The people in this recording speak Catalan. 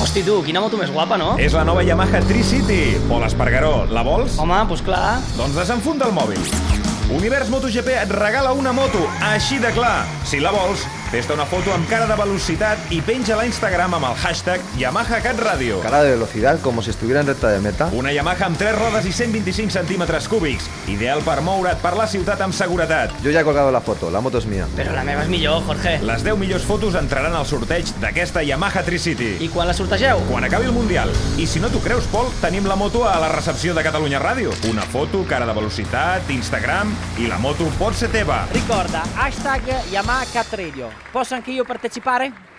Hosti, tu, quina moto més guapa, no? És la nova Yamaha Tri-City. Pol Espargaró, la vols? Home, doncs clar. Doncs desenfunda el mòbil. Univers MotoGP et regala una moto, així de clar. Si la vols, fes-te una foto amb cara de velocitat i penja-la a Instagram amb el hashtag YamahaCatRadio. Cara de velocidad como si estuviera en recta de meta. Una Yamaha amb 3 rodes i 125 centímetres cúbics, ideal per moure't per la ciutat amb seguretat. Yo ya he colgado la foto, la moto es mía. Però la meva és millor, Jorge. Les 10 millors fotos entraran al sorteig d'aquesta Yamaha Tri-City. I quan la sortegeu? Quan acabi el Mundial. I si no t'ho creus, Pol, tenim la moto a la recepció de Catalunya Ràdio. Una foto, cara de velocitat, Instagram i la moto pot ser teva. Ricorda, hashtag YamahaCatradio. Posso anche io partecipare?